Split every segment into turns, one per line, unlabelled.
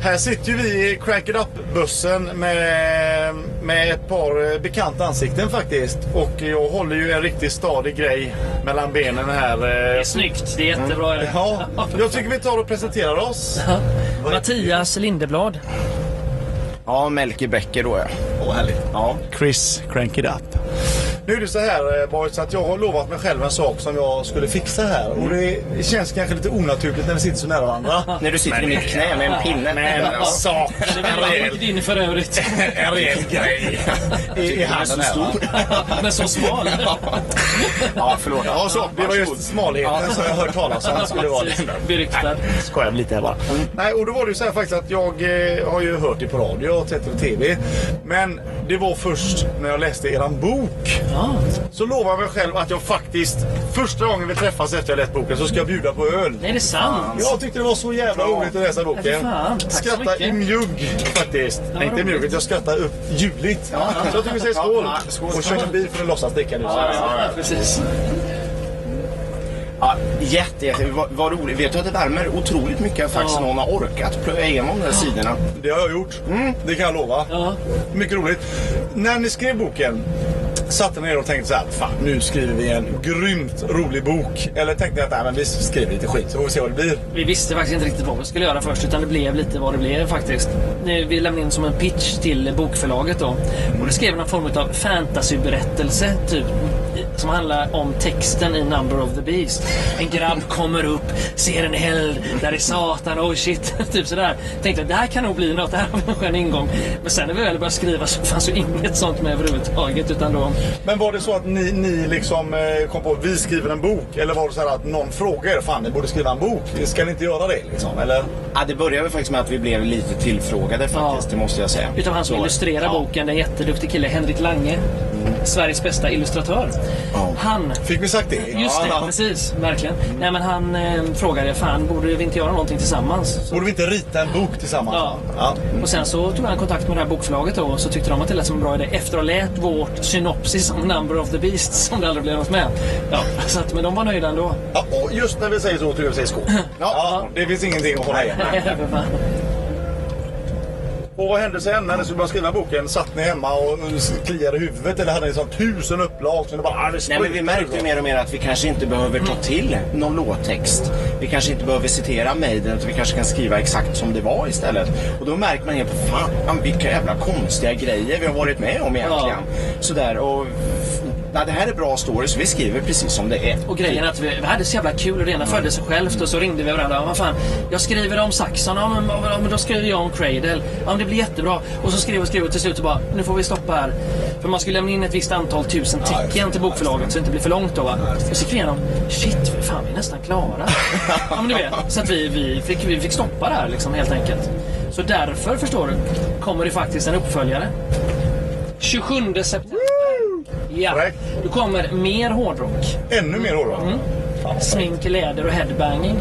Här sitter ju vi i Crack It Up-bussen med, med ett par eh, bekanta ansikten faktiskt. Och jag håller ju en riktigt stadig grej mellan benen här.
Det
eh.
är snyggt, det är jättebra. är det?
Ja, jag tycker vi tar och presenterar oss.
Mattias Lindeblad.
Ja, Melker Bäcker då ja.
Åh, härligt.
ja.
Chris, crank it up. Nu är det så här eh, boys att jag har lovat mig själv en sak som jag skulle fixa här. Och det känns kanske lite onaturligt när vi sitter så nära varandra.
När du sitter i mitt knä med en pinne.
Men sak,
Det är väldigt din för övrigt.
en rejäl grej.
i, i handen här va?
Men så smal.
Ja, förlåt.
Ja, så, det var just smalheten som jag hört talas om. Skulle vara liksom. det.
Beryktad.
Skojar lite här bara.
Mm.
Nej, och då var det ju så här faktiskt att jag eh, har ju hört det på radio och sett det på TV. Men det var först när jag läste eran bok.
Ja.
Så lovade jag mig själv att jag faktiskt, första gången vi träffas efter jag läst boken, så ska jag bjuda på öl.
Nej, det är sant.
Jag tyckte det var så jävla roligt att läsa
Ja,
boken.
fy fan. Tack så
Skratta
mycket.
i mjugg faktiskt.
var
Nej, inte i
roligt.
mjugget, jag skrattar upp ljudligt. Så jag tycker vi säger skål. Och kör en bil för att låtsas dricka nu.
Ja, precis.
Ja, jätte, jätte. Vad, vad roligt. Vet du att det värmer otroligt mycket faktiskt
Ja.
när någon har orkat plöja igenom de här sidorna.
Det har jag gjort.
Mm.
Det kan jag lova.
Ja.
Mycket roligt. När ni skrev boken, satte ni er och tänkte så här, fan nu skriver vi en grymt rolig bok. Eller tänkte ni att nej, men vi skriver lite skit så får vi se vad det blir.
Vi visste faktiskt inte riktigt vad vi skulle göra först utan det blev lite vad det blev faktiskt. Nu, Vi lämnade in som en pitch till bokförlaget då. Och det skrev någon form av fantasyberättelse typ. i- Som handlar om texten i Number of the Beast. En grabb kommer upp, ser en eld, där är Satan, oh shit. Typ sådär. Tänkte att det här kan nog bli något, det här har vi en skön ingång. Men sen när vi väl började skriva så fanns ju inget sånt med överhuvudtaget. Utan då,
Men var det så att ni, ni liksom eh, kom på att vi skriver en bok? Eller var det så här att någon frågade er, fan ni borde skriva en bok. Ska ni inte göra det liksom? Eller?
Ja, det började väl faktiskt med att vi blev lite tillfrågade
Ja.
faktiskt, det måste jag säga.
Utav han som
Så-
illustrerar
ja. Mm.
boken, den jätteduktig kille Henrik Lange. Sveriges bästa illustratör.
Ja.
Han,
Fick vi sagt det?
just det,
Ja.
precis, verkligen. Nej men han eh, frågade, fan borde vi inte göra någonting tillsammans? Så,
Borde vi inte rita en bok tillsammans?
Ja.
ja.
och sen så tog han kontakt med det här bokförlaget då och så tyckte de att det lät som en bra idé efter att ha läst vårt synopsis om Number of the Beast som det aldrig blev något med. Ja, så att, men de var nöjda ändå.
Ja, och just när vi säger så tycker jag vi säger skål. Ja, det finns ingenting att hålla igen.
För fan.
Och vad hände sen när ni skulle börja skriva boken? Satt ni hemma och kliade i huvudet eller hade ni sån tusen upplag? Så ni bara, ah, det
Nej, men vi märkte mer och mer att vi kanske inte behöver ta till någon låttext. Vi kanske inte behöver citera Maiden, utan vi kanske kan skriva exakt som det var istället. Och då märker man helt på fan vilka jävla konstiga grejer vi har varit med om egentligen. Sådär och... f- Nej, det här är bra stories, vi skriver precis som det är.
Och grejen är att vi, vi hade så jävla kul och det ena födde sig självt och så ringde vi varandra. Ja, Vad fan, jag skriver om Saxon, ja, men, ja, men då skriver jag om Cradle. Ja, men det blir jättebra. Och så skrev och skrev och till slut så bara, nu får vi stoppa här. För man skulle lämna in ett visst antal tusen tecken till bokförlaget så det inte blir för långt då va. Och så gick vi igenom, shit, för fan vi är nästan klara. ja men du vet, så att vi, vi, fick, vi fick stoppa där liksom helt enkelt. Så därför, förstår du, kommer det faktiskt en uppföljare. 27 september. Ja,
Korrekt.
då kommer mer hårdrock.
Ännu mer oro.
Mm.
Smink, läder och headbanging.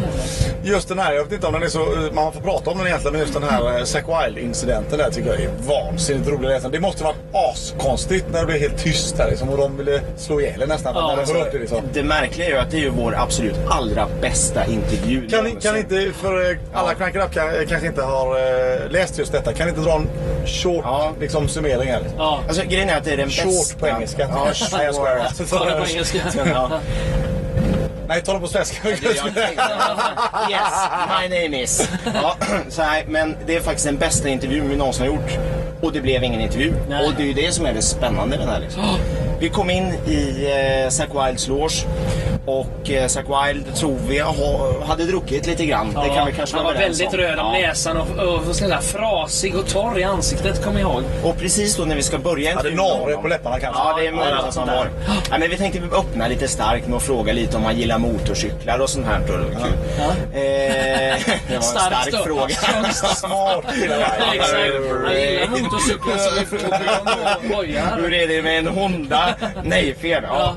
Just den här, jag vet inte om den är så, man får prata om den egentligen, men just den här eh, Zack Wilde-incidenten där tycker jag är vansinnigt rolig att läsa. Det måste varit askonstigt när det blev helt tyst där liksom, och de ville slå ihjäl er nästan.
Ja,
Ja, när de
så-
hörde det, liksom.
Det märkliga är ju att det är ju vår absolut allra bästa intervju
Kan, ni-
någonsin.
kan inte, för eh, alla Crank It Up kan, eh, kanske inte har eh, läst just detta, kan ni inte dra en short
Ja.
liksom, summering här?
Ja,
Alltså grejen är att det är den bästa...
Short på engelska.
Ja,
Nej, jag skojar.
short.
ta det på engelska.
Ja.
Nej, tala på svenska.
Det är jag tänkte. Yes, my name is. Ja, så här, men det är faktiskt den bästa intervjun vi någonsin har gjort. Och det blev ingen intervju.
Nej.
Och det är ju det som är det spännande med den här. Liksom. Vi kom in i eh, Zack Wildes loge. Och eh, Zack Wilde tror vi ha, hade druckit lite grann. det kan vi kanske
han
vara
var
överens
väldigt
om.
röd om
Ja.
näsan och, och, vad ska jag säga, frasig och torr i ansiktet, kommer jag ihåg.
Och precis då när vi ska börja
Hade
intervjun med
naret
honom-
på läpparna kanske.
Ja, det är
Ja,
möjligt
något
att han
sånt
har.
där.
Ja, men vi tänkte typ öppna lite starkt med att fråga lite om han gillar motorcyklar och sånt här. Då. Det var kul.
Ja.
Eh, det var en
Starkt
stark
då.
fråga.
Smart killar.
Exakt. Jag gillar motorcyklar så vi får bojar.
Hur är det med en Honda? Nej, fel. Ja.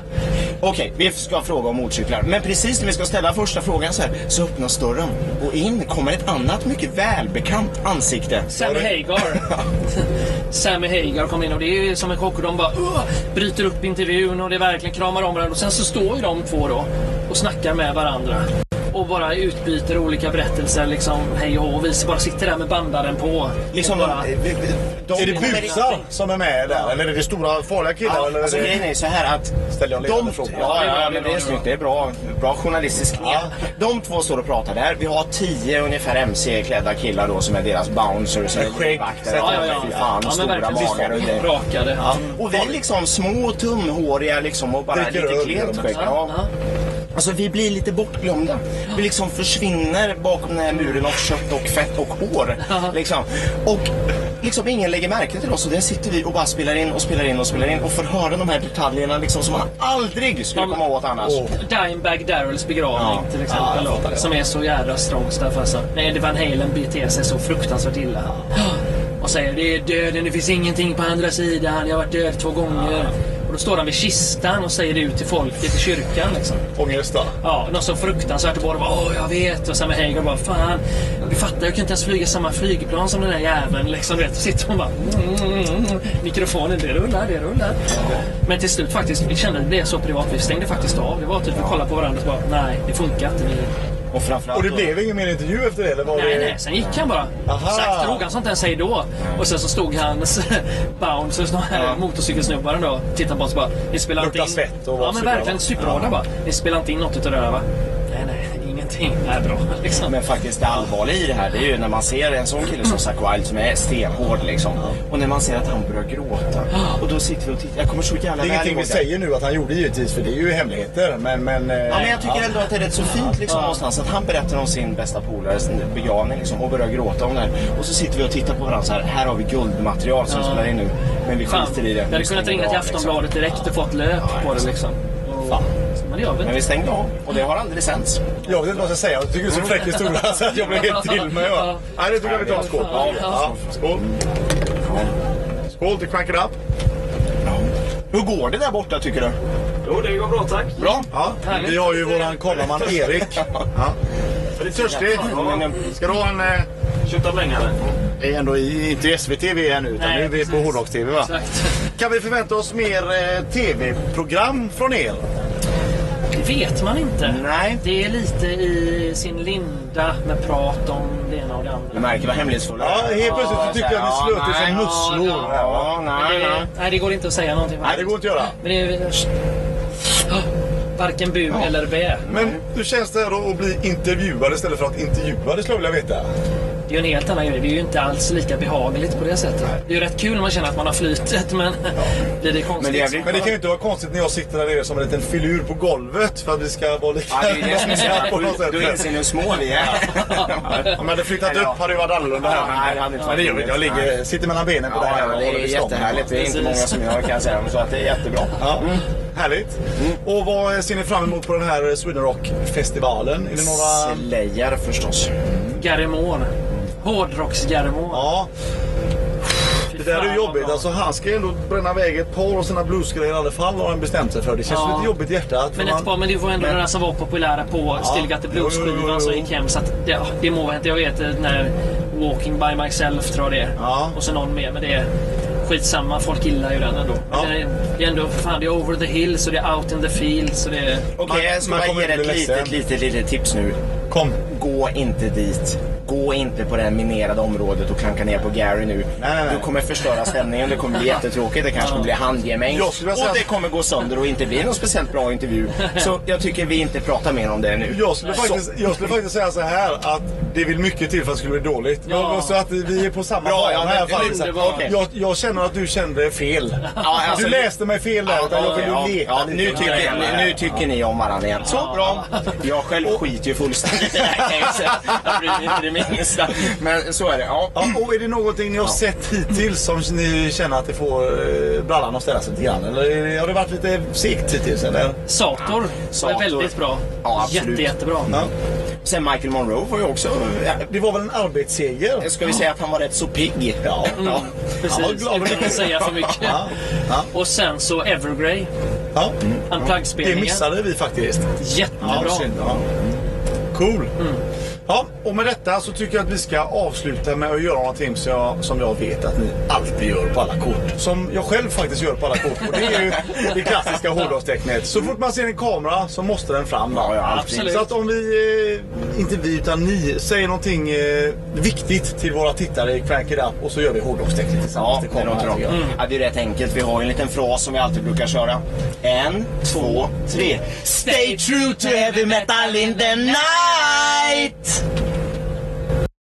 Okej, vi ska fråga om motorcyklar. Men precis när vi ska ställa första frågan så här så öppnas dörren och in kommer ett annat mycket välbekant ansikte.
Sam Hagar. Sammy Hagar kom in och det är ju som en chock och de bara "Åh!" bryter upp intervjun och det verkligen kramar om varandra. Och sen så står ju de två då och snackar med varandra. och bara utbyter olika berättelser liksom hej och hå. Och vi bara sitter där med bandaren på.
Liksom,
och bara,
de, de, de,
Är det
de-
busar som är med där? Eller är det stora farliga killar?
Ja,
eller är
alltså,
det...
grejen är så här att...
Ställer jag ledande
de, ja,
frågor?
ja, ja, men det är
Ja.
snyggt. Det är bra, bra journalistisk knep.
Ja.
De två står och pratar där. Vi har tio ungefär MC-klädda killar då som är deras bouncers.
Med skägg,
livvakter.
sätter
Ja, ja, ja.
Fy
ja,
fan,
men
stora
verkligen.
magar. och det.
Rakade.
Ja. Och vi liksom små, tunnhåriga liksom och bara
Dricker
lite
öl
klent
gör de
skägg.
också.
Ja.
Ja.
Alltså vi blir lite bortglömda. Vi liksom försvinner bakom den här muren av kött och fett och hår. Liksom. Och liksom ingen lägger märke till oss och där sitter vi och bara spelar in och spelar in och spelar in och får höra de här detaljerna liksom som man aldrig skulle komma åt annars.
Åh.
Alltså, Dimebag Darrells begravning
Ja.
till exempel.
Ja, jag fattar
då,
det.
som är så jävla strongs därför alltså. Nej, det Van Halen beter sig så fruktansvärt illa. Och säger det är döden, det finns ingenting på andra sidan. Jag har varit död två gånger. Och då står han vid kistan och säger det ut till folket i kyrkan liksom.
Ångest där.
Ja, något så fruktansvärt. Och båda bara åh, jag vet. Och sen med Hager bara fan, du fattar, jag kan inte ens flyga samma flygplan som den där jäveln. Liksom, du vet, så sitter hon bara mm, mm, mm. mikrofonen, det rullar, det rullar. Men till slut faktiskt, vi kände att det blev så privat. Vi stängde faktiskt av. Det var typ, vi kollade på varandra och bara nej, det funkar inte. Vi...
Och framförallt
Och det blev ingen mer intervju efter det? Eller var
Nej,
det...
nej, sen gick han bara.
Aha.
Sagt drog han sånt där säg då. Och sen så stod hans bouncers, de här
Ja.
motorcykelsnubbarna då, tittade på oss och bara. Ni spelar inte in...
Luktar svett och var
Ja men
sura,
verkligen
va?
superhårda bara. Ni spelar inte in något utav det där va? Nej, nej, ingenting. Nej, bra liksom.
Men faktiskt det allvarliga i det här det är ju när man ser en sån kille som Zack Wilde som är stenhård liksom. Och när man ser att han börjar gråta. Och då sitter vi och tittar. Jag kommer så jävla
Det är
väl
ingenting
ihåg
vi säger nu att han gjorde givetvis, för det är ju hemligheter. Men, men, eh,
Ja, men jag tycker ändå att det är rätt så fint liksom, någonstans att han berättar om sin bästa polares begravning liksom, och börjar gråta om det här. Och så sitter vi och tittar på varandra så här. Här har vi guldmaterial som vi spelar in nu. Men vi
Fan,
skiter i det.
jag hade
Vi
kunnat
stänger
ringa till
av, liksom.
Aftonbladet direkt och fått löp
Ja,
på det
exakt.
liksom.
Fan.
Men det gör vi
Men
inte.
vi stängde av och det har aldrig sänts.
eh, Jag vet inte vad jag ska säga. Jag tycker det är så fräck historia så att jag blir helt till mig.
Ja.
Ja. Nej, det tycker jag vi tar. Skål.
Ja.
Ja. Skål. Skål till Crank It Up.
Hur går det där borta tycker du?
Jo, det går bra tack.
Bra?
Ja.
Härligt.
Vi har ju våran kameraman Erik. Ja. Är du törstig?
Ja.
Ska du ha en... eh,
Köttavlängare.
Det är ändå i- inte SVT vi är nu, utan
Nej,
nu är vi på
precis.
Hårdrocks TV va?
Exakt.
Kan vi förvänta oss mer eh, TV-program från er?
Det vet man inte.
Nej.
Det är lite i sin linda med prat om det ena och det andra.
Du märker vad hemlighetsfulla
Ja, helt plötsligt så tycker jag att ni slöter som musslor.
ja.
här, va?
Ja,
Men
nej, nej.
det, nej, det går inte att säga någonting.
Nej, det går inte att göra.
Men det är... Ah, Varken bu eller bä.
Men hur känns det då att bli intervjuad istället för att intervjua? Det skulle jag vilja veta.
Det är ju en helt annan grej. Det är ju inte alls lika behagligt på det sättet. Det är ju rätt kul när man känner att man har flytet, men blir det konstigt?
Men det är jävligt-
Men det kan ju inte vara konstigt när jag sitter där nere som en liten filur på golvet för att vi ska vara lika
Ja, det är ju det som är så jävla
på något
sjukt.
sätt.
Du inser hur små vi är.
Om jag hade flyttat
Eller ja.
upp hade det varit annorlunda
Ja, nej,
här.
det hade inte
Men det
varit
gör vi inte. Jag
roligt.
ligger, sitter mellan benen på det
Ja,
här.
ja,
och
det
håller
är
i stången.
jättehärligt. Det är inte
Precis.
många som gör kan jag säga. Så att det är jättebra. Mm.
Ja. Härligt. Och vad ser ni fram emot på den här Sweden Rock-festivalen? Är det några...
Slayer förstås.
Gary Moore. Hårdrocks-Gary Moore.
Ja, det där är ju jobbigt. Alltså, han ska ju ändå bränna iväg ett par och sina bluesgrejer i alla fall har han bestämt sig för. Det känns
Ja.
lite jobbigt i hjärtat. för
Men
man-
ett par, men det var ändå
Men-
några som var populära på Still Got The
jo, jo, jo.
Blues-skivan som gick hem. Så att det, ja, det må vara hänt. Jag vet eh, den här Walking By Myself tror jag det är.
Ja.
Och så någon mer. Men det är skitsamma. Folk gillar ju den ändå.
Ja.
Det, är, det är ändå, för fan, det är Over The Hills och det är Out In The Fields och det är...
Okej,
Man-
jag ska
man
bara
kommer
ge dig ett
bli ledsen.
litet, litet, litet tips nu.
Kom.
Gå inte dit. Gå inte på det här minerade området och klanka ner på Gary nu.
nej, nej.
Du kommer förstöra stämningen, det kommer bli jättetråkigt, det kanske kommer bli handgemäng.
Jag skulle vilja säga-
Och det kommer gå sönder och inte bli någon speciellt bra intervju. Så jag tycker vi inte pratar mer om det nu.
Jag skulle,
Så-
faktiskt, jag skulle faktiskt säga så här att det vill mycket till för att det skulle bli dåligt.
Ja.
Men Så att vi är på samma
Bra,
bana
ja, men
här
det är
faktiskt.
underbart.
Okej. liksom. Jag, jag känner att du kände fel.
Ja, alltså-
du läste mig fel där. utan jag ville
ja,
leta
ja,
lite.
nu, tycker,
Ja,
nu, nu tycker ni om varandra igen. Så bra. Jag själv skiter ju fullständigt i det här kan jag ju säga. Jag bryr mig inte det minsta. Men så är det. Ja.
Ja, och är det någonting ni har sett hittills som ni känner att det får eh, brallan att ställa sig lite grann? Eller är det- har det varit lite segt hittills? Eller?
Sator.
Sator.
Var väldigt bra.
Ja, absolut.
Jätte, jättebra.
Ja.
Sen Michael Monroe var ju också...
Det var väl en arbetsseger?
Ska vi säga att han var rätt så pigg? Ja. ja.
var
Precis.
glad
Utan att säga för mycket.
Ja, ja,
Och sen så Evergrey.
ja.
Mm.
Unplugged-spelningen.
Det missade vi faktiskt.
Jättebra.
Mm.
Ja, synd, ja. Cool. Ja, och med detta så tycker jag att vi ska avsluta med att göra någonting som jag, som jag vet att ni alltid gör på alla kort. Som jag själv faktiskt gör på alla kort. Och det är ju det klassiska hårdrockstecknet. Så fort man ser en kamera så måste den fram. va?
Ja, ja, alltid.
Absolut.
Så att om vi, eh, inte vi utan ni, säger någonting eh, viktigt till våra tittare i Crank It Up och så gör vi hårdrockstecknet tillsammans.
Ja, det Mm. låter
här,
bra.
tycker jag.
Ja, det är rätt enkelt. Vi har ju en liten fras som vi alltid brukar köra. En, två, tre. Stay true to heavy metal in the night!